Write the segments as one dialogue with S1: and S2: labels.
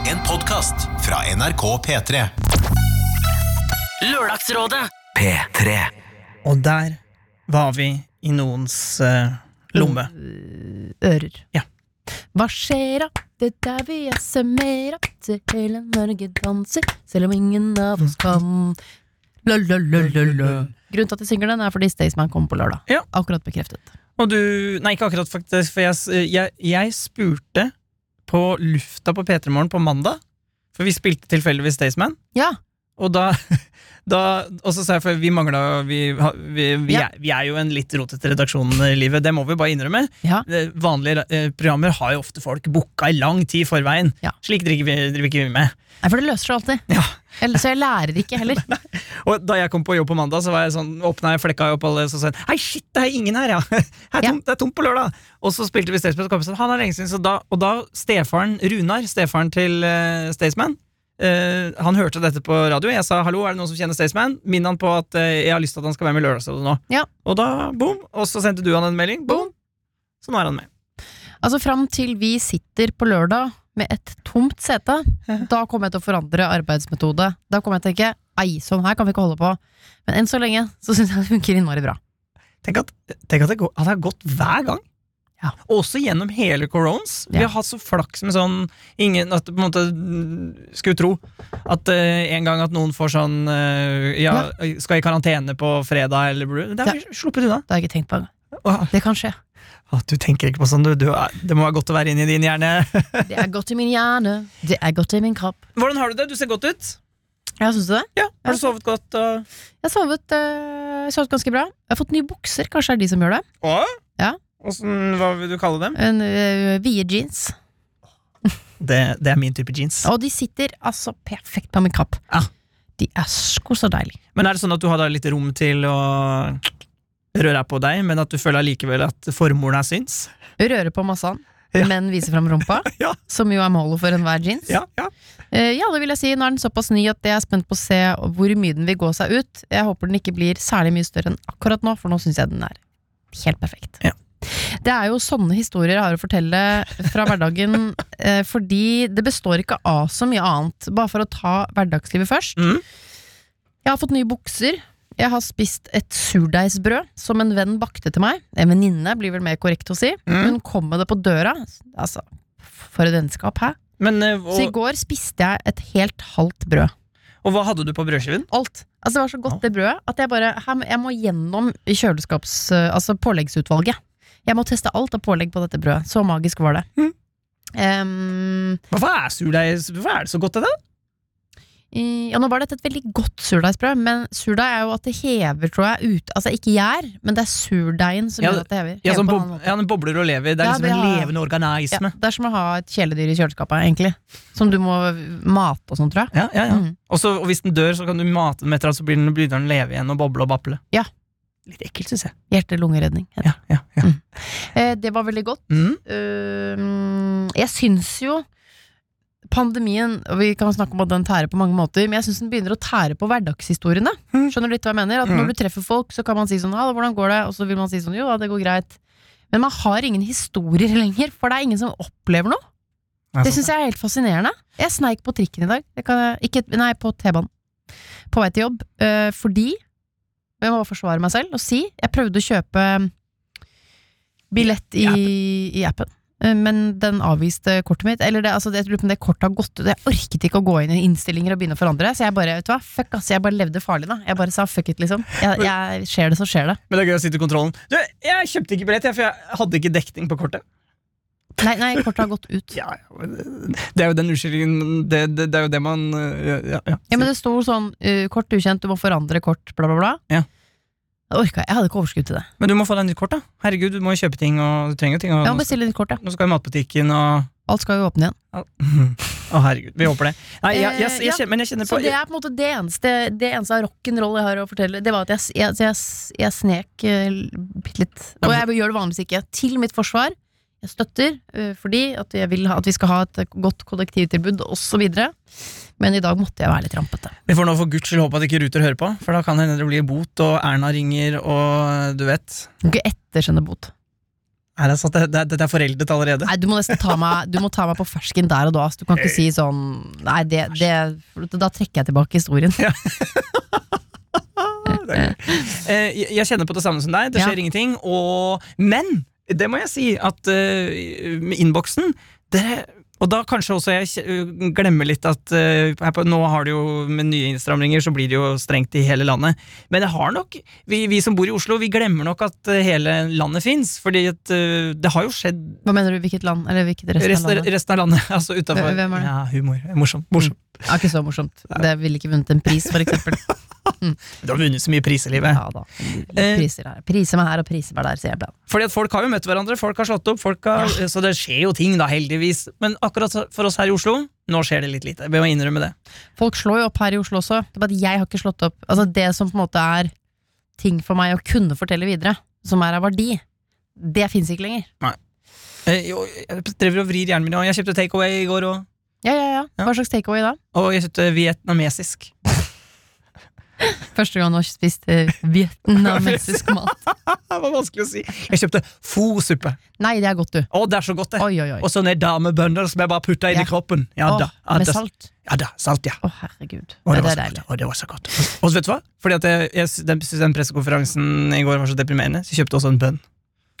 S1: podkast fra NRK P3.
S2: Lørdagsrådet.
S3: P3.
S4: Og der var vi i noens eh, lomme.
S5: ører.
S4: Ja.
S5: Hva skjer'a? Det der vi er summera, til hele Norge danser, selv om ingen av oss kan la, la, la, la, la. Grunnen til at jeg synger den, er fordi Staysman kommer på lørdag.
S4: Ja.
S5: Akkurat bekreftet.
S4: Og du Nei, ikke akkurat, faktisk, for jeg, s- eh, jeg, jeg spurte på lufta på P3 Morgen på mandag, for vi spilte tilfeldigvis Staysman,
S5: Ja,
S4: og da, da Og så sa jeg, for vi mangla vi, ha- vi, vi,
S5: Ja.
S4: er, vi er jo en litt rotete redaksjon i livet, det må vi bare innrømme.
S5: ja.
S4: Eh, Vanlige eh, programmer har jo ofte folk booka i lang tid i forveien.
S5: Ja.
S4: Slik driver vi, driver ikke vi med.
S5: Nei, for det løser seg alltid.
S4: Ja.
S5: Eller- Så jeg lærer ikke heller.
S4: Og da jeg kom på jobb på mandag, så var jeg sånn, åpna jeg flekka opp alle og sa jeg, Hei, shit, det er ingen her, ja! Det er
S5: Ja.
S4: tomt, det er tomt på lørdag! Og så spilte vi Staysman, og kom jeg sånn, han er lenge siden, så da, og da stefaren Runar, stefaren til uh, Staysman, eh, han hørte dette på radio. Jeg sa hallo, er det noen som kjenner Staysman? Minn han på at eh, jeg har lyst til at han skal være med i Lørdagsrådet nå.
S5: Ja.
S4: Og da, boom! Og så sendte du han en melding, boom! Så nå er han med.
S5: Altså Fram til vi sitter på lørdag med et tomt sete, da kommer jeg til å forandre arbeidsmetode. Da kommer jeg til å tenke ei, sånn her kan vi ikke holde på. Men enn så lenge så syns jeg det funker innmari bra.
S4: Tenk at, tenk at det går, at det har gått hver gang.
S5: Ja.
S4: Også gjennom hele corones. Vi
S5: Ja.
S4: har hatt så flaks med sånn ingen, At du på en måte mm, skulle tro at eh, en gang at noen får sånn eh, ja, Skal i karantene på fredag eller bru- Det har vi sluppet unna.
S5: Det har jeg ikke tenkt på engang.
S4: Åh,
S5: Det kan skje.
S4: åh, du tenker ikke på sånn, du. du er, det må være godt å være inni din hjerne.
S5: Det er godt i min hjerne, det er godt i min kropp.
S4: Hvordan har du det? Du ser godt ut.
S5: Ja, syns du det?
S4: Ja, Har du sovet godt? Og...
S5: Jeg har sovet, eh, sovet ganske bra. Jeg har fått nye bukser, kanskje det er de som gjør det.
S4: Og?
S5: Ja.
S4: Åssen- hva vil du kalle dem?
S5: En, eh, Vide jeans.
S4: Det, det er min type jeans.
S5: Og de sitter altså perfekt på min kropp.
S4: Ja.
S5: De er sko så deilige.
S4: Men er det sånn at du har da litt rom til å røre på deg, men at du føler allikevel at formålet er syns?
S5: Røre på massen,
S4: Ja.
S5: men vise fram rumpa.
S4: Ja.
S5: Som jo er målet for enhver jeans.
S4: Ja, ja.
S5: Eh, ja, det vil jeg si. Nå er den såpass ny at jeg er spent på å se hvor mye den vil gå seg ut. Jeg håper den ikke blir særlig mye større enn akkurat nå, for nå syns jeg den er helt perfekt.
S4: Ja.
S5: Det er jo sånne historier jeg har å fortelle fra hverdagen, eh, fordi det består ikke av så mye annet. Bare for å ta hverdagslivet først.
S4: Mhm.
S5: Jeg har fått nye bukser. Jeg har spist et surdeigsbrød som en venn bakte til meg. En venninne blir vel mer korrekt å si.
S4: Mhm.
S5: Hun kom med det på døra. Altså, for et vennskap, hæ?
S4: Men, eh,
S5: Så i
S4: og,
S5: går spiste jeg et helt halvt brød.
S4: og hva hadde du på brødskiven?
S5: Alt. Altså Det var så godt, det brødet, at jeg bare her må- Jeg må gjennom kjøleskaps... eh, Altså påleggsutvalget. Jeg må teste alt av pålegg på dette brødet. Så magisk var det.
S4: Mm.
S5: Em,
S4: Hvorfor er surdeig Hvorfor er det så godt, det da?
S5: i- ja, nå var dette et veldig godt surdeigsbrød, men surdeig er jo at det hever, tror jeg, ut Altså ikke gjær, men det er surdeigen som
S4: Ja,
S5: gjør at det hever.
S4: Ja,
S5: Hever
S4: sånn
S5: på en
S4: bob,
S5: annen måte.
S4: ja, den bobler og lever. Det er
S5: Ja,
S4: liksom
S5: det
S4: en
S5: har-
S4: levende organisme.
S5: Ja, det er som å ha et kjæledyr i kjøleskapet, egentlig. Som du må mate og sånn, tror jeg.
S4: Ja, ja, ja.
S5: Mm.
S4: Og, så, og hvis den dør, så kan du mate den med et eller annet, så blir den, begynner den å leve igjen og boble og baple.
S5: Ja.
S4: Litt ekkelt, syns jeg.
S5: Hjerte-lungeredning.
S4: Ja, ja, ja.
S5: Eh, det var veldig godt.
S4: Mm.
S5: Øhm, jeg syns jo pandemien Og vi kan snakke om at den tærer på mange måter, men jeg syns den begynner å tære på hverdagshistoriene.
S4: Mm.
S5: Skjønner du litt hva jeg mener? At
S4: Mm.
S5: Når du treffer folk, så kan man si sånn Ja, hvordan går det? Og så vil man si sånn Jo da, det går greit. Men man har ingen historier lenger, for det er ingen som opplever noe. Det syns jeg er helt fascinerende. Jeg sneik på trikken i dag. Jeg kan, ikke, nei, på T-banen. På vei til jobb. øh, fordi Jeg må bare forsvare meg selv og si jeg prøvde å kjøpe um, billett i,
S4: I
S5: i appen. øh, Men den avviste kortet mitt. Eller det, altså, jeg lurer på om det kortet har gått ut. Jeg orket ikke å gå inn i innstillinger og begynne å forandre. Så jeg bare vet du hva, fuck ass, jeg bare levde farlig, da. Jeg bare sa fuck it, liksom. Jeg, jeg Skjer det, så skjer det.
S4: Men det er gøy å sitte i kontrollen. Du, jeg kjøpte ikke billett, jeg, for jeg hadde ikke dekning på kortet.
S5: Nei, nei, kortet har gått ut.
S4: Ja, ja, men det er jo den unnskyldningen det, det, det er jo det man eh, ja, ja, ja.
S5: Ja, men det sto sånn uh, kort ukjent, du må forandre kort, bla, bla, bla.
S4: Ja.
S5: Jeg orka, jeg hadde ikke overskudd til det.
S4: Men du må få deg nytt kort, da. Herregud, du må jo kjøpe ting, og du trenger jo ting. Og
S5: Jeg må
S4: nå,
S5: bestille nytt kort, ja.
S4: nå skal jo matbutikken og
S5: Alt skal jo åpne igjen.
S4: Å, herregud. Vi håper det. Nei, jeg, jeg, jeg,
S5: Eh, ja.
S4: kjenner, men jeg kjenner
S5: Så
S4: på
S5: det er på en måte det eneste, det eneste av rock'n'roll jeg har å fortelle. Det var at jeg, s- jeg, så jeg, s- jeg snek eh, bitte litt. Og jeg gjør det vanligvis ikke. Til mitt forsvar. Jeg støtter eh, fordi at jeg vil ha, at vi skal ha et godt kollektivtilbud osv. Men i dag måtte jeg være litt rampete.
S4: Vi får nå for guds skyld håpe at ikke Ruter hører på, for da kan det hende det blir bot, og Erna ringer, og du vet.
S5: Du kan ikke ettersende bot.
S4: Er det, sant? det, det, det er foreldet allerede.
S5: Nei, du må nesten ta meg, du må ta meg på fersken der og da. ass. Du kan ikke si sånn Nei, det, det, da trekker jeg tilbake historien.
S4: Eh, jeg- jeg kjenner på det samme som deg, det
S5: Ja.
S4: skjer ingenting. Og, men det må jeg si, at eh, med innboksen dere, Og da kanskje også jeg kje- glemmer litt at eh, her på, nå har det jo med nye innstramninger så blir det jo strengt i hele landet. Men jeg har nok, vi, vi som bor i Oslo, vi glemmer nok at eh, hele landet fins. Fordi at eh, det har jo skjedd
S5: Hva mener du, hvilket land? Eller hvilket resten av
S4: resten,
S5: landet?
S4: resten av landet. Altså utenfor.
S5: Hvem er det? Mm.
S4: Ja, humor. Morsom. morsom.
S5: Ja, Ah, ikke så morsomt. Det ville ikke vunnet en pris, for eksempel.
S4: Du har vunnet så mye pris i livet. Eh.
S5: Ja da. Priser her. Priser meg her og priser meg der, sier jeg iblant.
S4: Fordi at folk har jo møtt hverandre, folk har slått opp, folk har, så det skjer jo ting, da, heldigvis. Men akkurat for oss her i Oslo, nå skjer det litt lite. Jeg må innrømme det.
S5: Folk slår jo opp her i Oslo også. Det er bare at jeg har ikke slått opp. Altså Det som på en måte er ting for meg å kunne fortelle videre, som er av verdi, det fins ikke lenger.
S4: Eh, jo, Jeg driver og vrir hjernen min, og jeg kjøpte takeaway i går, og,
S5: Ja, ja, ja.
S4: Ja.
S5: Hva slags takeaway da?
S4: og jeg kjøpte vietnamesisk.
S5: Første gang du har spist eh, vietnamesisk mat.
S4: Det var vanskelig å si. Jeg kjøpte fo-suppe.
S5: Nei, det er godt, du.
S4: Å, det er så godt, det.
S5: Oi, oi, oi.
S4: Og sånne damebønder som jeg bare putta inn
S5: Ja.
S4: i kroppen. Ja da.
S5: Åh,
S4: Ja
S5: med
S4: da,
S5: salt.
S4: ja, da salt, ja.
S5: Å, herregud.
S4: Og det,
S5: Ja,
S4: var
S5: det er
S4: så
S5: deilig.
S4: godt. og det var så godt. Og så vet du hva? Fordi at jeg, jeg sy- den, synes den pressekonferansen i går var så deprimerende, så jeg kjøpte også en bønn.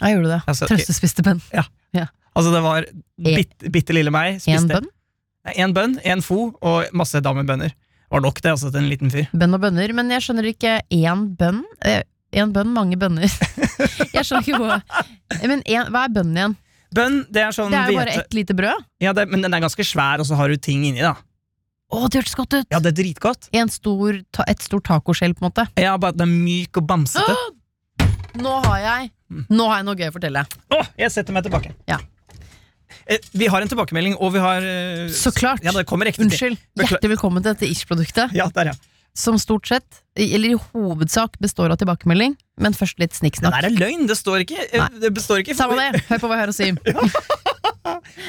S5: Ja, gjorde du det?
S4: Altså,
S5: Trøstespiste bønn.
S4: Altså, det var bitte, bitte lille meg.
S5: Én
S4: spiste-
S5: bønn?
S4: Nei, En bønn, en fo og masse damebønner. Var nok det, altså, til en liten fyr.
S5: Bønn og bønner, men jeg skjønner ikke én bønn. Eh, Én bønn, mange bønner. Jeg skjønner ikke hva Men en, hva er bønnen igjen?
S4: Bønn, det er sånn
S5: Det er jo bare
S4: hvete-
S5: ett lite brød.
S4: Ja, det, men den er ganske svær, og så har du ting inni, da.
S5: Å, det hørtes godt ut!
S4: Ja, det er dritgodt.
S5: En stor, ta, et stort tacoskjell, på en måte.
S4: Ja, bare at den er myk og bamsete.
S5: Nå har jeg
S4: Mm.
S5: Nå har jeg noe gøy å fortelle.
S4: Å, jeg setter meg tilbake.
S5: Ja.
S4: Eh, Vi har en tilbakemelding, og vi har eh,
S5: Så klart.
S4: Ja, det kommer riktig til.
S5: Unnskyld.
S4: Bekla-
S5: Hjertelig velkommen til dette Ish-produktet,
S4: Ja, der, ja.
S5: som stort sett, i- eller i hovedsak, består av tilbakemelding, men først litt
S4: Det
S5: snikksnakk.
S4: der er løgn! Det står ikke. eh,
S5: Nei.
S4: Det består ikke.
S5: Samme det, hør på hva jeg har å si.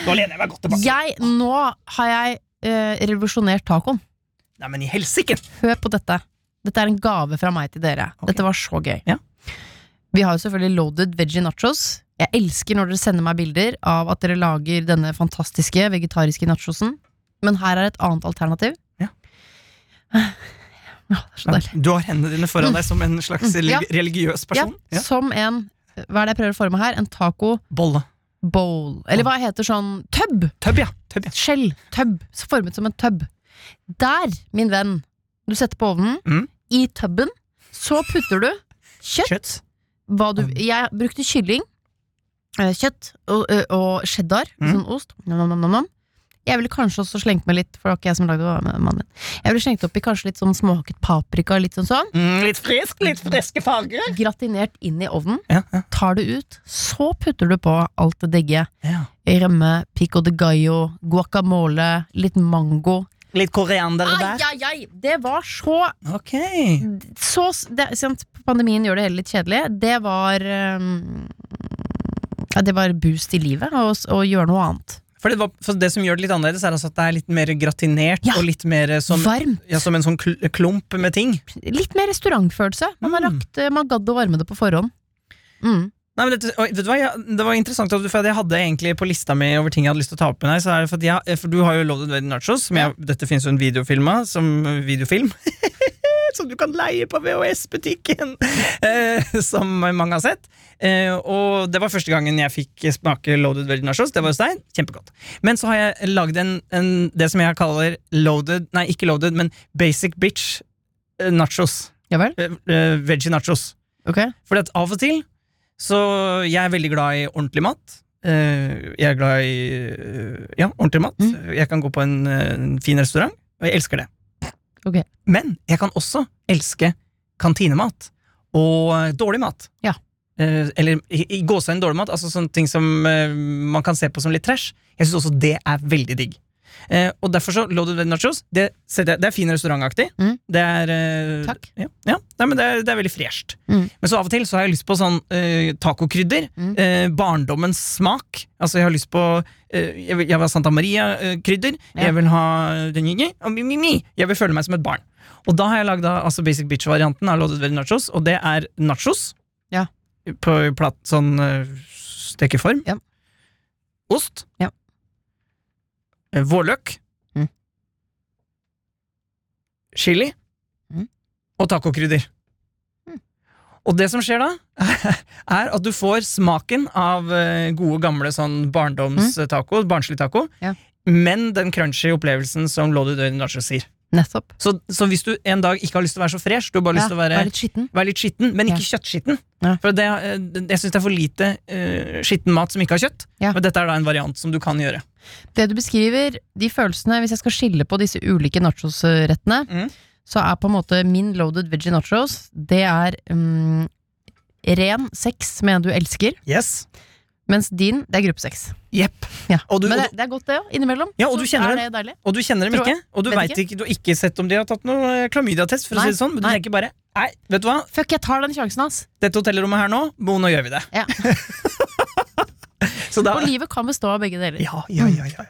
S4: Nå lener jeg meg godt tilbake.
S5: Jeg, nå har jeg eh, revolusjonert tacoen.
S4: Nei, men i helsike!
S5: Hør på dette. Dette er en gave fra meg til dere.
S4: Ok.
S5: Dette var så gøy.
S4: Ja.
S5: Vi har jo selvfølgelig loaded veggie nachos. Jeg elsker når dere sender meg bilder av at dere lager denne fantastiske vegetariske nachosen. Men her er et annet alternativ.
S4: Ja.
S5: Ja, det er så deilig.
S4: Du har hendene dine foran deg som en slags
S5: Mm. Ja.
S4: relig- religiøs
S5: Ja,
S4: person. Ja.
S5: som en Hva er det jeg prøver å forme her? En taco
S4: Bolle.
S5: bowl. Eller hva heter sånn tub?
S4: Tøbb, ja. Tøbb, ja.
S5: Skjell. Tub. Så Formet som en tub. Der, min venn, du setter på ovnen.
S4: Mm.
S5: I tuben. Så putter du kjøtt.
S4: Kjøtt.
S5: hva du, jeg brukte kylling, eh, kjøtt og, eh, og cheddar,
S4: Mm.
S5: sånn ost. Nom, nom, nom, nom, nom. Jeg ville kanskje også slengt med litt, for det var ikke jeg som lagde det, det, var mannen min. Jeg ville slengt opp i kanskje litt sånn småhakket paprika, litt sånn sånn.
S4: Mm, litt frisk, litt friske farger.
S5: Gratinert inn i ovnen,
S4: Ja, ja.
S5: tar det ut, så putter du på alt det digge.
S4: ja.
S5: Rømme, pico de gallo, guacamole, litt mango.
S4: Litt koriander
S5: Ai, ai, ai! Det var så
S4: Ok.
S5: så, det, sant, Pandemien gjør det hele litt kjedelig. Det var ehm, ja, Det var boost i livet og, s- og gjøre noe annet.
S4: For det, var, for det som gjør det litt annerledes, er altså at det er litt mer gratinert
S5: Ja.
S4: og litt mer eh, som,
S5: Varm.
S4: ja, som en sånn kl- klump med ting.
S5: Litt mer restaurantfølelse. Man har
S4: Mm.
S5: lagt, eh, man gadd å varme det på forhånd. Mm.
S4: Nei, men dette, oi, vet du hva, jeg, Det var interessant, at du- for jeg hadde egentlig på lista mi over ting jeg hadde lyst til å ta opp med deg. Så er det for, at jeg, for du har jo Loaded Wedding Nachos. Som jeg, dette finnes jo en videofilm av. Som videofilm Som du kan leie på VHS-butikken! Eh, som mange har sett. Eh, og det var første gangen jeg fikk smake Loaded Wedding Nachos. Det var hos deg. Kjempegodt. Men så har jeg lagd en, en, det som jeg kaller loaded Nei, ikke loaded, men basic bitch eh, nachos.
S5: Ja vel?
S4: Eh, eh, veggie nachos.
S5: Ok.
S4: Fordi at av og til Så jeg er veldig glad i ordentlig mat Eh, Jeg er glad i eh, Ja, ordentlig mat Jeg kan gå på en, eh, en fin restaurant Og jeg elsker det
S5: Ok.
S4: Men jeg kan også elske kantinemat Og eh, dårlig mat
S5: Ja.
S4: Eh, Eller i, i gåsehøyden dårlig mat Altså sånne ting som eh, man kan se på som litt trash Jeg synes også det er veldig digg Eh, og derfor så Loaded Red Nachos Det, setter jeg- det er fin restaurantaktig
S5: Mm.
S4: Det er eh,
S5: Takk.
S4: ja, ja. Nei, men det, er, det er veldig fresht.
S5: Mm.
S4: Men så av og til så har jeg lyst på sånn eh, tacokrydder.
S5: Mm.
S4: eh, barndommens smak. Altså jeg har lyst på eh, Jeg vil jeg vil ha Santa Maria-krydder.
S5: Ja.
S4: Jeg vil ha eh, den nye, og mi, mi, mi. Jeg vil føle meg som et barn. Og da har jeg lagd da, altså basic bitch-varianten av Loaded Very Nachos, og det er nachos.
S5: Ja.
S4: På plat, sånn eh, Stekeform.
S5: Ja.
S4: Ost.
S5: Ja.
S4: Eh, Vårløk.
S5: Mm.
S4: Chili.
S5: Mm.
S4: Og tacokrydder.
S5: Mm.
S4: Og det som skjer da, er at du får smaken av eh, gode, gamle sånn barndomstaco, barnslig taco,
S5: Mm. Ja.
S4: men den crunchy opplevelsen som Lodi Døgn Nacho sier.
S5: Nettopp.
S4: Så, så hvis du en dag ikke har lyst til å være så fresh, du har bare lyst til å være
S5: Vær litt skitten.
S4: Vær litt skitten, men ikke kjøttskitten.
S5: Ja.
S4: For det, eh, det- jeg syns det er for lite eh, skitten mat som ikke har kjøtt.
S5: Ja.
S4: Men dette er da en variant som du kan gjøre.
S5: Det du beskriver, de følelsene, hvis jeg skal skille på disse ulike nachosrettene,
S4: Mm.
S5: så er på en måte min loaded veggie nachos, det er mm, ren sex med en du elsker,
S4: Yes.
S5: mens din, det er gruppesex.
S4: Jepp.
S5: Ja.
S4: Og du-
S5: Men
S4: og
S5: det, det er godt det, ja, innimellom.
S4: Ja, og du
S5: så
S4: kjenner
S5: er det deilig.
S4: Og du kjenner dem
S5: Tror jeg.
S4: ikke, og du,
S5: Vet
S4: vet ikke. du har ikke sett om de har tatt noe eh, klamydiatest, for å
S5: Nei.
S4: si det sånn, men du
S5: Nei.
S4: tenker bare Nei, vet du hva,
S5: Fuck, jeg tar den sjansen hans.
S4: dette hotellrommet her nå, bo, nå gjør vi det.
S5: Ja.
S4: Så da,
S5: Og Mm. livet kan bestå av begge deler.
S4: ja, ja, ja, ja.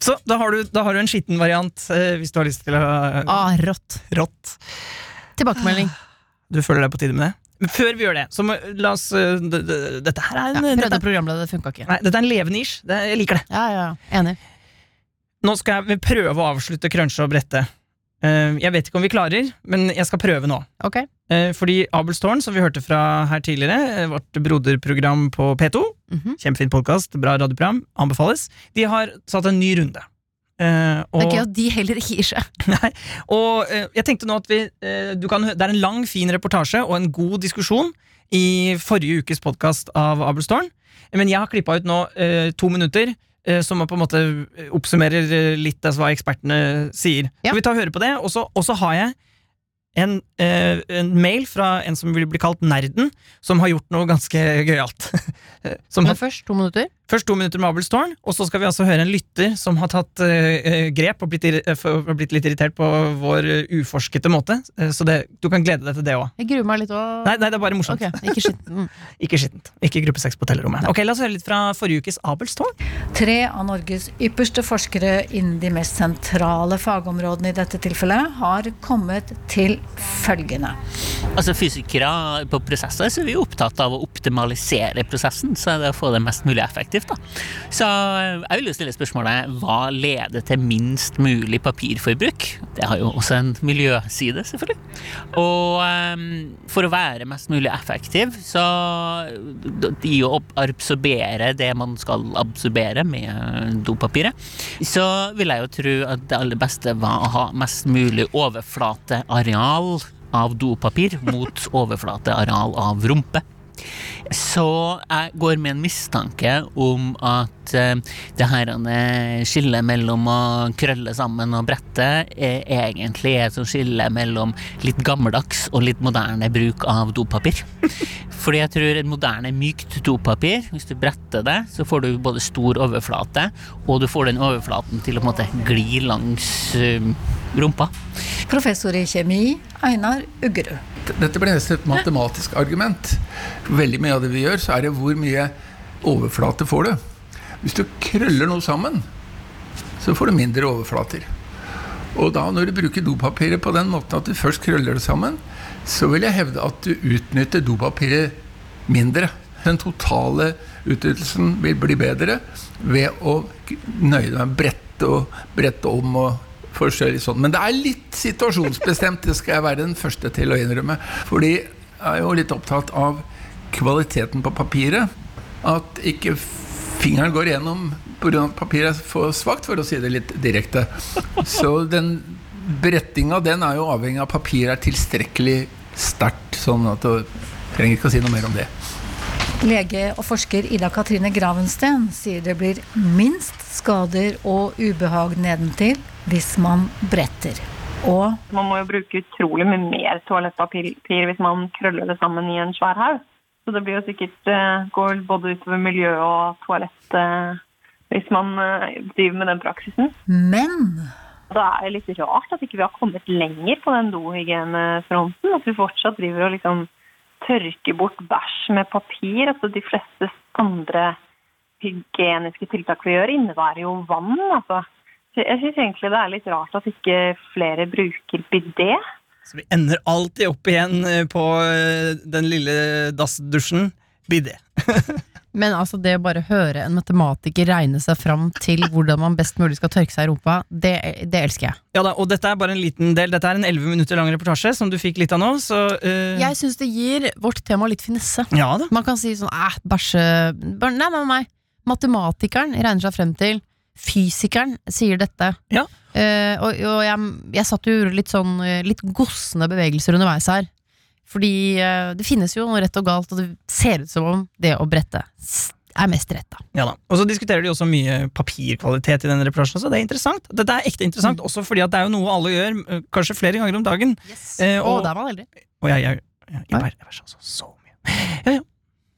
S4: Så da har du, da har du en skitten variant, eh, hvis du har lyst til å
S5: Ah, rått.
S4: Rått.
S5: Tilbakemelding.
S4: Ah, Du føler deg på tide med det? Men før vi gjør det, så må la oss eh, d- d- Dette her er
S5: Ja,
S4: en dette
S5: prøvde
S4: er
S5: å programlede, det funka ikke.
S4: Nei, dette er en levende ish. Det, jeg liker det.
S5: Ja, ja, ja. Enig.
S4: Nå skal jeg prøve å avslutte crunche og brette. Eh, jeg vet ikke om vi klarer, men jeg skal prøve nå.
S5: Ok.
S4: Eh, fordi Abelstårn, som vi hørte fra her tidligere, eh, vårt broderprogram på P2,
S5: Mhm.
S4: kjempefin podkast, bra radioprogram, anbefales, de har satt en ny runde. Eh,
S5: Det
S4: og
S5: er gøy at de heller ikke gir seg.
S4: Nei, og eh, jeg tenkte nå at vi eh, du kan, hø- Det er en lang, fin reportasje og en god diskusjon i forrige ukes podkast av Abelstårn. Men jeg har klippa ut nå eh, to minutter eh, som på en måte oppsummerer eh, litt av hva ekspertene sier.
S5: Ja.
S4: Så vi tar og hører på det, og så, og så har jeg en, eh, en mail fra en som vil bli kalt Nerden, som har gjort noe ganske gøyalt. som
S5: Men
S4: har,
S5: først to minutter.
S4: først to minutter med Abelstårn, og så skal vi altså høre en lytter som har tatt eh, eh, grep og blitt, irri- eh, for- og blitt litt irritert på vår eh, uforskete måte. Eh, så det, du kan glede deg til det òg.
S5: Jeg gruer meg litt òg.
S4: Nei, nei, det er bare morsomt.
S5: Ok, ikke skitten. Mm.
S4: Ikke skittent. Ikke gruppe seks på hotellrommet. Ok, La oss høre litt fra forrige ukes Abelstårn.
S2: Tre av Norges ypperste forskere innen de mest sentrale fagområdene i dette tilfellet har kommet til følgende.
S3: Altså Fysikere på prosesser så er vi jo opptatt av å optimalisere prosessen, så det å få det mest mulig effektivt. da. Så eh, jeg vil jo stille spørsmålet hva leder til minst mulig papirforbruk? Det har jo også en miljøside, selvfølgelig. Og ehm, for å være mest mulig effektiv, så de jo opp- absorbere det man skal absorbere med dopapiret, så vil jeg jo tro at det aller beste var å ha mest mulig overflateareal av dopapir mot overflateareal av rumpe. Så jeg går med en mistanke om at eh, det her eh, skillet mellom å krølle sammen og brette eh, egentlig er et sånt skille mellom litt gammeldags og litt moderne bruk av dopapir. Fordi jeg tror et moderne mykt dopapir, hvis du bretter det, så får du både stor overflate, og du får den overflaten til å på en måte gli langs eh, rumpa.
S2: Professor i kjemi, Einar Uggerud.
S6: Dette ble nesten et matematisk argument. Veldig mye av det vi gjør, så er det hvor mye overflate får du. Hvis du krøller noe sammen, så får du mindre overflater. Og da når du bruker dopapiret på den måten at du først krøller det sammen, så vil jeg hevde at du utnytter dopapiret mindre. Den totale utnyttelsen vil bli bedre ved å k- nøye deg med å brette og brette om og forskjellig sånn. Men det er litt situasjonsbestemt, det skal jeg være den første til å innrømme. Fordi jeg er jo litt opptatt av kvaliteten på papiret. At ikke fingeren går gjennom pga. at papiret er for svakt, for å si det litt direkte. Så den brettinga den er jo avhengig av at papiret er tilstrekkelig sterkt. Sånn at du trenger ikke å si noe mer om det.
S2: Lege og forsker Ida Katrine Gravensten sier det blir minst skader og ubehag nedentil hvis man bretter. Og
S7: Man må jo bruke utrolig mye mer toalettpapir hvis man krøller det sammen i en svær haug. Så det blir jo sikkert eh, går både utover miljø og toalett eh, hvis man eh, driver med den praksisen.
S2: men
S7: Da er det litt rart at ikke vi har kommet lenger på den dohygienefronten. At vi fortsatt driver og liksom tørker bort bæsj med papir. Altså de fleste andre hygieniske tiltak vi gjør, innebærer jo vann. Altså. Så jeg syns egentlig det er litt rart at ikke flere bruker bidé.
S4: Så vi ender alltid opp igjen eh, på eh, den lille dassdusjen. Bidé.
S5: Men altså det å bare høre en matematiker regne seg fram til hvordan man best mulig skal tørke seg i rumpa, det, det elsker jeg.
S4: Ja da, og dette er bare en liten del. Dette er en 11 minutter lang reportasje som du fikk litt av nå, så eh,
S5: Jeg syns det gir vårt tema litt finesse.
S4: Ja da.
S5: Man kan si sånn æh, bæsje bare, Nei, nei, nei. Matematikeren regner seg frem til. Fysikeren sier dette.
S4: Ja.
S5: Eh, og og jeg, jeg satt jo og gjorde litt sånn eh, litt gossende bevegelser underveis her. Fordi eh, det finnes jo noe rett og galt, og det ser ut som om det å brette s- er mest rett, da.
S4: Ja da. Og så diskuterer de også mye papirkvalitet i denne reportasjen, så det er interessant. Dette er ekte interessant, også fordi at det er jo noe alle gjør, eh, kanskje flere ganger om dagen. Eh,
S5: og,
S4: og-
S5: der var man eldre.
S4: Og jeg, jeg, jeg, jeg
S5: Oi.
S4: bærer- jeg bæsjer altså så mye.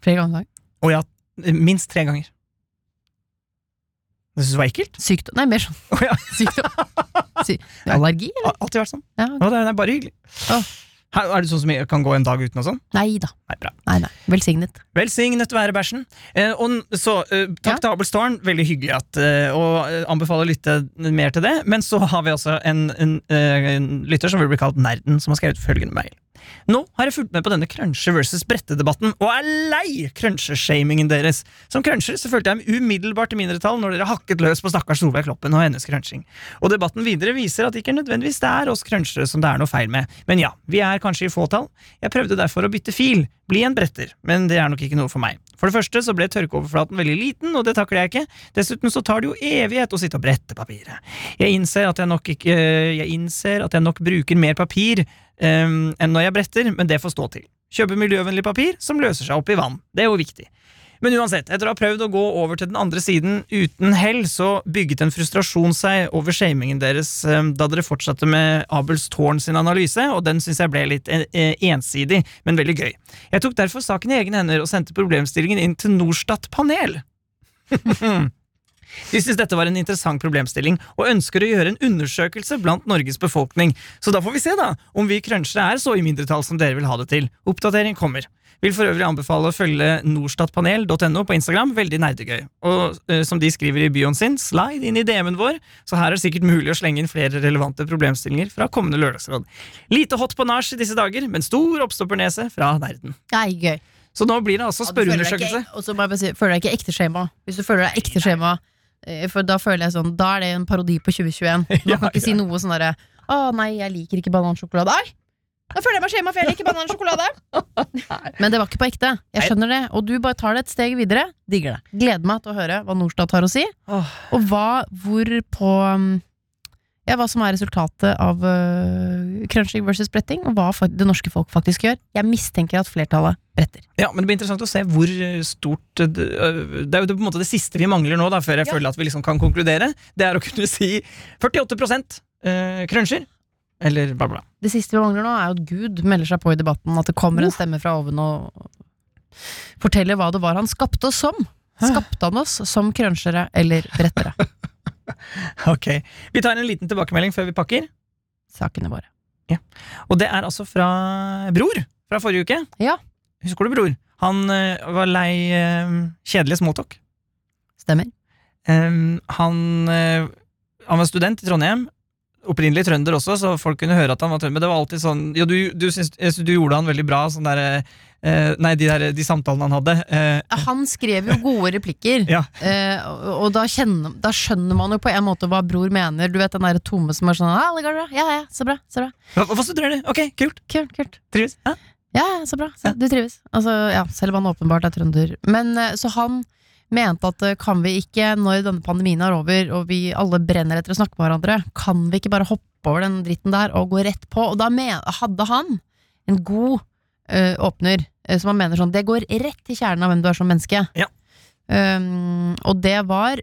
S5: Flere ganger om dagen.
S4: Og ja, eh, minst tre ganger. Det syns du var ekkelt?
S5: Sykdom Nei, mer sånn
S4: Å ja.
S5: sykdom. Sy allergi?
S4: Det har alltid vært sånn.
S5: Ja.
S4: Å, det er- det er bare hyggelig.
S5: Å.
S4: Her, er det sånn som jeg kan gå en dag uten og sånn?
S5: Nei da.
S4: Nei, bra.
S5: Nei, nei. Velsignet.
S4: Velsignet være bæsjen. Eh, og n- så, eh, takk
S5: Ja.
S4: til Abelstårn, veldig hyggelig at, eh, og eh, anbefaler å lytte mer til det. Men så har vi altså en, en, eh, en lytter som vil bli kalt Nerden, som har skrevet følgende mail. Nå har jeg fulgt med på denne crunche versus brette-debatten, og er lei cruncheshamingen deres. Som cruncher så følte jeg meg umiddelbart i mindretall når dere hakket løs på stakkars Solveig Kloppen og hennes crunching. Og debatten videre viser at ikke nødvendigvis det er oss crunchere som det er noe feil med. Men ja, vi er kanskje i fåtall. Jeg prøvde derfor å bytte fil, bli en bretter, men det er nok ikke noe for meg. For det første så ble tørkeoverflaten veldig liten, og det takler jeg ikke. Dessuten så tar det jo evighet å sitte og brette papiret. Jeg innser at jeg nok, ikke, eh, jeg innser at jeg nok bruker mer papir em, enn når jeg bretter, men det får stå til. Kjøpe miljøvennlig papir som løser seg opp i vann. Det er jo viktig. Men uansett, etter å ha prøvd å gå over til den andre siden uten hell, så bygget en frustrasjon seg over shamingen deres eh, da dere fortsatte med Abels Tårn sin analyse, og den syns jeg ble litt eh, eh, ensidig, men veldig gøy. Jeg tok derfor saken i egne hender og sendte problemstillingen inn til Norstat panel. De syns dette var en interessant problemstilling, og ønsker å gjøre en undersøkelse blant Norges befolkning. Så da får vi se, da, om vi crunchere er så i mindretall som dere vil ha det til. Oppdatering kommer. Vil for øvrig anbefale å følge norstatpanel.no på Instagram. Veldig nerdegøy. Og eh, som de skriver i bioen sin, slide inn i DM-en vår, så her er det sikkert mulig å slenge inn flere relevante problemstillinger fra kommende lørdagsråd. Lite hot på nach i disse dager, men stor oppstoppernese fra nerden.
S5: Nei, gøy.
S4: Så nå blir det altså
S5: Ja, du føler deg
S4: spørreundersøkelse.
S5: ikke- Og så må jeg bare si, føler deg ikke ekte skjema. Hvis du føler deg ekte skjema, eh, for da føler jeg sånn, da er det en parodi på 2021. Man
S4: Ja,
S5: kan ikke si noe sånn derre Å nei, jeg liker ikke banansjokolade. Nei! Da føler jeg meg skjema, for jeg liker banansjokolade. Men det var ikke på ekte. Jeg skjønner det. Og du bare tar det et steg videre. Digger det. Gleder meg til å høre hva Norstat har å si,
S4: Åh.
S5: og hva, hvor på um, ja, hva som er resultatet av øh, crunching versus bretting, og hva fa- det norske folk faktisk gjør. Jeg mistenker at flertallet bretter.
S4: Ja, men det blir interessant å se hvor eh, stort eh, Det eh, det er jo det- på en måte det siste vi mangler nå, da, før jeg
S5: Ja.
S4: føler at vi liksom kan konkludere. Det er å kunne si 48 eh, cruncher. Eller bla, bla.
S5: Det siste vi mangler nå, er jo at Gud melder seg på i debatten. At det kommer en stemme fra oven og forteller hva det var han skapte oss som. Skapte han oss som krønsjere eller brettere?
S4: Ok. Vi tar en liten tilbakemelding før vi pakker.
S5: Sakene våre.
S4: Og det er altså fra Bror fra forrige uke.
S5: Ja.
S4: Husker du Bror? Han eh, var lei eh, kjedelig småtalk.
S5: Stemmer.
S4: Em, han, eh, han var student i Trondheim. Opprinnelig trønder også, så folk kunne høre at han var trønder. Men det var alltid sånn Ja, du, du, syns, jeg syns du gjorde han veldig bra, sånn derre Nei, de, der, de samtalene han hadde. eh,
S5: Han skrev jo gode replikker,
S4: Ja.
S5: eh, og- og da, kjenner, da skjønner man jo på en måte hå bror mener. Du vet den derre tomme som er sånn «Ah, ligger det bra? Ja, ja, så bra. så bra
S4: hva, hva studerer du? Ok, kult.
S5: Kult, kult.
S4: Trives. Ja.
S5: Ja, ja, så bra. Så, du trives. Altså, ja, selv om han åpenbart er trønder. Men eh, så han mente at eh, kan vi ikke, når denne pandemien er over, og vi alle brenner etter å snakke med hverandre, kan vi ikke bare hoppe over den dritten der og gå rett på? Og da men, hadde han en god eh, åpner, eh, som han mener sånn, det går rett til kjernen av hvem du er som menneske.
S4: Ja.
S5: Um, og det var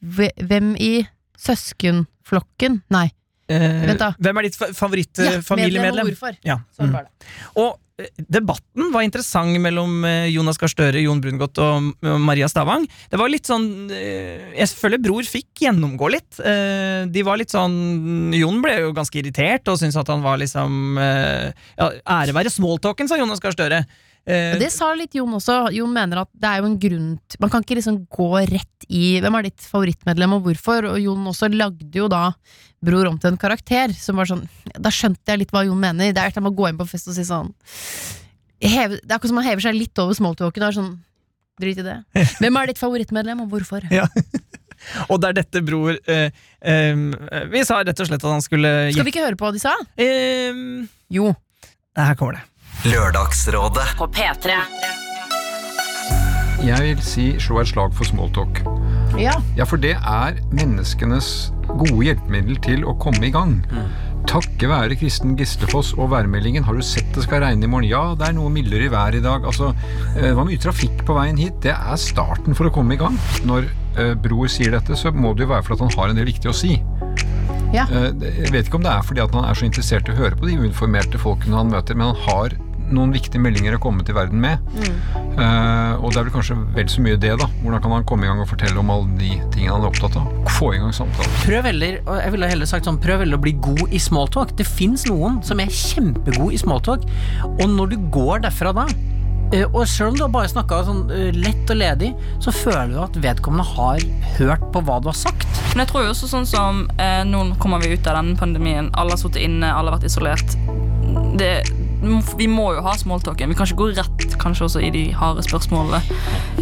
S5: ve- hvem i søskenflokken Nei,
S4: Eh,
S5: Vent da.
S4: Hvem er ditt fa-
S5: ja, medlem og
S4: favorittfamiliemedlem?
S5: hvorfor.
S4: Ja. Eh,
S5: Sånn
S4: Mm.
S5: var det.
S4: Og eh, debatten var interessant mellom eh, Jonas Gahr Støre, Jon Brungot og eh, Maria Stavang. Det var litt sånn eh, Jeg føler Bror fikk gjennomgå litt. Eh, De var litt sånn Jon ble jo ganske irritert og syntes at han var liksom eh, ja, Ære være smalltalken, sa Jonas Gahr Støre. Eh,
S5: Og det sa litt Jon også. Jon mener at det er jo en grunn til, Man kan ikke liksom gå rett i hvem er ditt favorittmedlem, og hvorfor. Og Jon også lagde jo da Bror om til en karakter som var sånn Da skjønte jeg litt hva Jon mener. Det er et eller annet med å gå inn på fest og si sånn heve, Det er akkurat som man hever seg litt over smalltalken og er sånn Drit i det. Hvem er ditt favorittmedlem, og hvorfor?
S4: Ja. Og det er dette Bror eh, em, Vi sa rett og slett at han skulle
S5: Skal vi ikke høre på hva de sa?
S4: Em,
S5: Jo.
S4: Her kommer det.
S8: Lørdagsrådet.
S9: På P3.
S10: Jeg vil si slå et slag for smalltalk.
S5: Ja.
S10: Ja, for det er menneskenes gode hjelpemiddel til å komme i gang. Takke være Kristen Gislefoss og værmeldingen. Har du sett det skal regne i morgen? Ja, det er noe mildere i været i dag. Altså, eh, det var mye trafikk på veien hit. Det er starten for å komme i gang. Når eh, Bror sier dette, så må det jo være fordi at han har en del viktig å si.
S5: Ja.
S10: Eh, det- Jeg vet ikke om det er fordi at han er så interessert i å høre på de uinformerte folkene han møter, men han har noen viktige meldinger å komme til verden med. Eh, og det er vel kanskje vel så mye det, da. Hvordan kan han komme i gang og fortelle om alle de tingene han er opptatt av? Få i gang samtalen.
S11: Prøv heller, og jeg ville heller sagt sånn, prøv heller å bli god i smalltalk. Det fins noen som er kjempegod i smalltalk, og når du går derfra da eh, og selv om du har bare snakka sånn eh, lett og ledig, så føler du at vedkommende har hørt på hva du har sagt.
S12: Men jeg tror jo også sånn som eh, Nå kommer vi ut av denne pandemien. Alle har sittet inne, alle har vært isolert. Det, vi må jo ha smalltalken. Vi kan ikke gå rett kanskje også i de harde spørsmålene.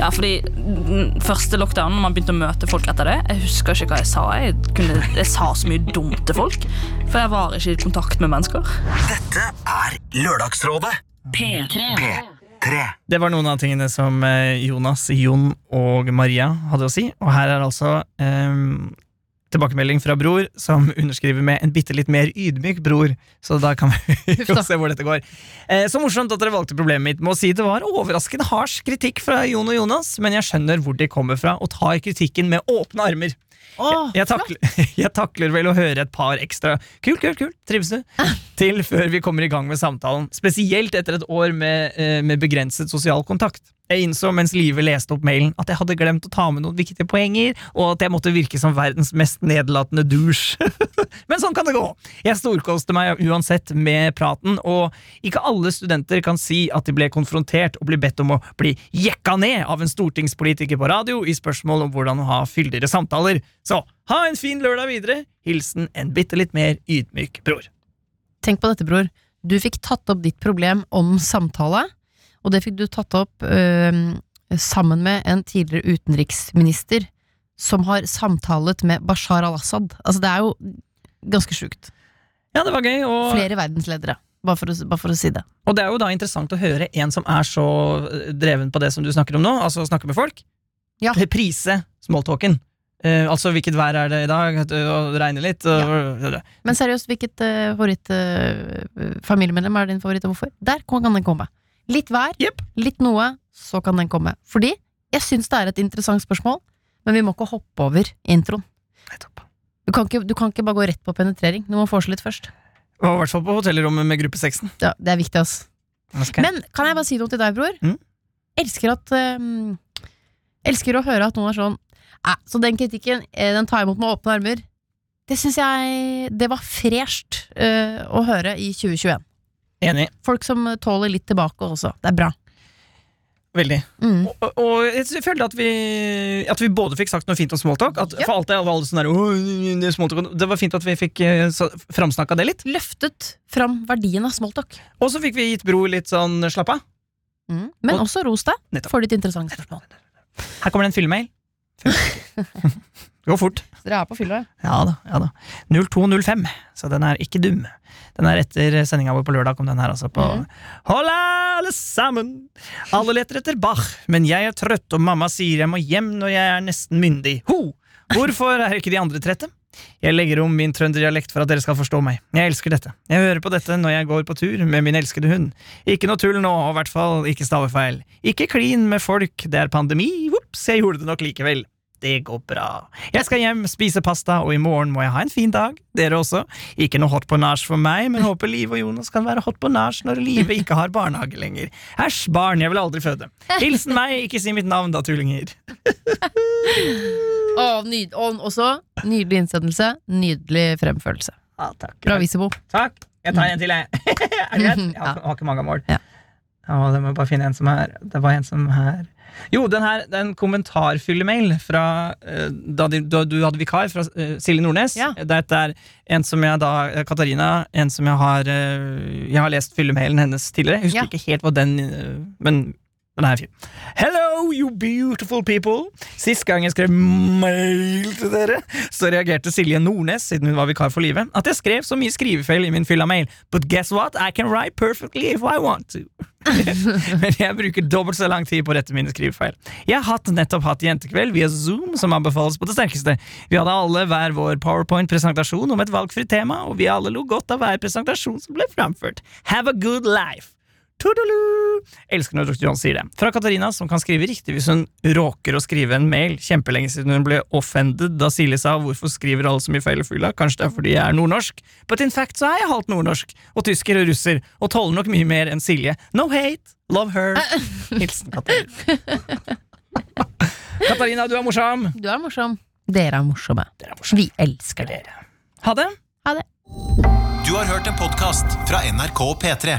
S12: Ja, fordi den første lockdown, når man begynte å møte folk etter det Jeg husker ikke hva jeg sa. Jeg, kunne, jeg sa så mye dumt til folk. For jeg var ikke i kontakt med mennesker.
S8: Dette er Lørdagsrådet. P3.
S4: Det var noen av tingene som eh, Jonas, Jon og Maria hadde å si. Og her er altså em, tilbakemelding fra Bror, som underskriver med 'en bitte litt mer ydmyk bror'. Så da kan vi
S5: Huff
S4: jo
S5: da.
S4: se hvor dette går. Eh, så morsomt at dere valgte problemet mitt med å si det var overraskende harsk kritikk fra Jon og Jonas, men jeg skjønner hvor de kommer fra, og tar kritikken med åpne armer.
S5: Åh,
S4: Jeg, takler, jeg takler vel å høre et par ekstra Kult, kult, kult, trives du? Til før vi kommer i gang med samtalen. Spesielt etter et år med, eh, med begrenset sosial kontakt. Jeg innså mens Live leste opp mailen at jeg hadde glemt å ta med noen viktige poenger, og at jeg måtte virke som verdens mest nedlatende douche. Men sånn kan det gå. Jeg storkoste meg uansett med praten, og ikke alle studenter kan si at de ble konfrontert og ble bedt om å bli jekka ned av en stortingspolitiker på radio i spørsmål om hvordan å ha fyldigere samtaler. Så ha en fin lørdag videre. Hilsen en bitte litt mer ydmyk bror.
S5: Tenk på dette, bror. Du fikk tatt opp ditt problem om samtale, og det fikk du tatt opp øhm, sammen med en tidligere utenriksminister som har samtalet med Bashar al-Assad. Altså, det er jo ganske sjukt.
S4: Ja, det var gøy, og,
S5: Flere verdensledere, bare for å, bare for å si det.
S4: og det er jo da interessant å høre en som er så eh, dreven på det som du snakker om nå, altså å snakke med folk.
S5: Ja.
S4: P- Prise smalltalken. Eh, altså hvilket vær er det i dag, og regne litt. Og,
S5: Men seriøst, hvilket uh, favoritt eh, familiemedlem er din favoritt, og hvorfor? Der kan den komme. Litt hver,
S4: Jepp.
S5: litt noe, så kan den komme. Fordi jeg syns det er et interessant spørsmål, men vi må ikke hoppe over introen. Du kan, ikke, du kan ikke bare gå rett på penetrering. Du må forse litt først.
S4: Var i hvert fall på hotellrommet med gruppe 16.
S5: Ja, det er viktig, ass.
S4: Okay.
S5: Men kan jeg bare si noe til deg, bror?
S4: Mm.
S5: Elsker at eh, Elsker å høre at noen er sånn «Æ, Så den kritikken, eh, den tar jeg imot med åpne armer. Det syns jeg Det var fresht eh, å høre i 2021.
S4: Enig.
S5: Folk som tåler litt tilbake også. Det er bra.
S4: Veldig.
S5: Mm.
S4: Og, og jeg s- føler at vi, at vi både fikk sagt noe fint om smalltalk. At
S5: Ja.
S4: For alt det, var alle sånn der, «Åh, det er smalltalk». Det var fint at vi fikk eh, sa- framsnakka det litt.
S5: Løftet fram verdien av smalltalk.
S4: Og så fikk vi gitt Bro litt sånn slapp av.
S5: Mm. Men også ros deg
S4: Nettopp.
S5: for ditt interessante spørsmål.
S4: Her kommer det en fyllemail. Det går fort.
S5: Dere er på fylla, ja.
S4: Ja da. ja da 0205, så den er ikke dum. Den er etter sendinga vår på lørdag. kom den her altså på Hola, alle sammen! Alle leter etter Bach, men jeg er trøtt, og mamma sier jeg må hjem når jeg er nesten myndig. Ho! Hvorfor er ikke de andre trette? Jeg legger om min trønderdialekt for at dere skal forstå meg. Jeg elsker dette. Jeg hører på dette når jeg går på tur med min elskede hund. Ikke noe tull nå, og i hvert fall ikke stavefeil. Ikke klin med folk, det er pandemi. Ops, jeg gjorde det nok likevel. Det går bra. Jeg skal hjem, spise pasta, og i morgen må jeg ha en fin dag. Dere også. Ikke noe hot på nach for meg, men håper Live og Jonas kan være hot på nach når Live ikke har barnehage lenger. Æsj, barn, jeg vil aldri føde. Hilsen meg, ikke si mitt navn da, tullinger.
S5: Å, nyd og også nydelig innsendelse. Nydelig fremførelse.
S4: Ja, takk.
S5: Bra visebo.
S4: Takk. Jeg tar en til, jeg. er det greit? Jeg har, har ikke mange mål.
S5: Mhm, Ja.
S4: Å, det må jeg bare finne en som er Det var en som her Jo, den her, den kommentarfyllemail fra eh, da, de, da du hadde vikar, fra eh, Silje Nordnes.
S5: Ja.
S4: Dette er en som jeg da eh, Katarina, en som jeg har eh, Jeg har lest fyllemailen hennes tidligere. Jeg husker
S5: Ja.
S4: ikke helt hva den eh, Men Den er fin. Hello, you beautiful people! Sist gang jeg skrev mail til dere, så reagerte Silje Nordnes, siden hun var vikar for Live, at jeg skrev så mye skrivefeil i min fylla mail. But guess what? I can write perfectly if I want to. Men jeg bruker dobbelt så lang tid på å rette mine skrivefeil. Jeg har hatt, nettopp hatt jentekveld via Zoom, som anbefales på det sterkeste. Vi hadde alle hver vår powerpoint-presentasjon om et valgfritt tema, og vi alle lo godt av hver presentasjon som ble framført. Have a good life! Toodaloo! Elsker når Dr. John sier det. Fra Katarina, som kan skrive riktig hvis hun råker å skrive en mail. Kjempelenge siden hun ble offended da Silje sa 'hvorfor skriver alle så mye feil i fylla', kanskje det er fordi jeg er nordnorsk? But in fact så er jeg halvt nordnorsk, og tysker og russer, og tåler nok mye mer enn Silje. No hate, love her. Hilsen Katarina. Katarina, du er morsom.
S5: Du er morsom. Dere er morsomme. Vi elsker dere.
S4: Ha det.
S5: Ha det.
S1: Du har hørt en podkast fra NRK P3.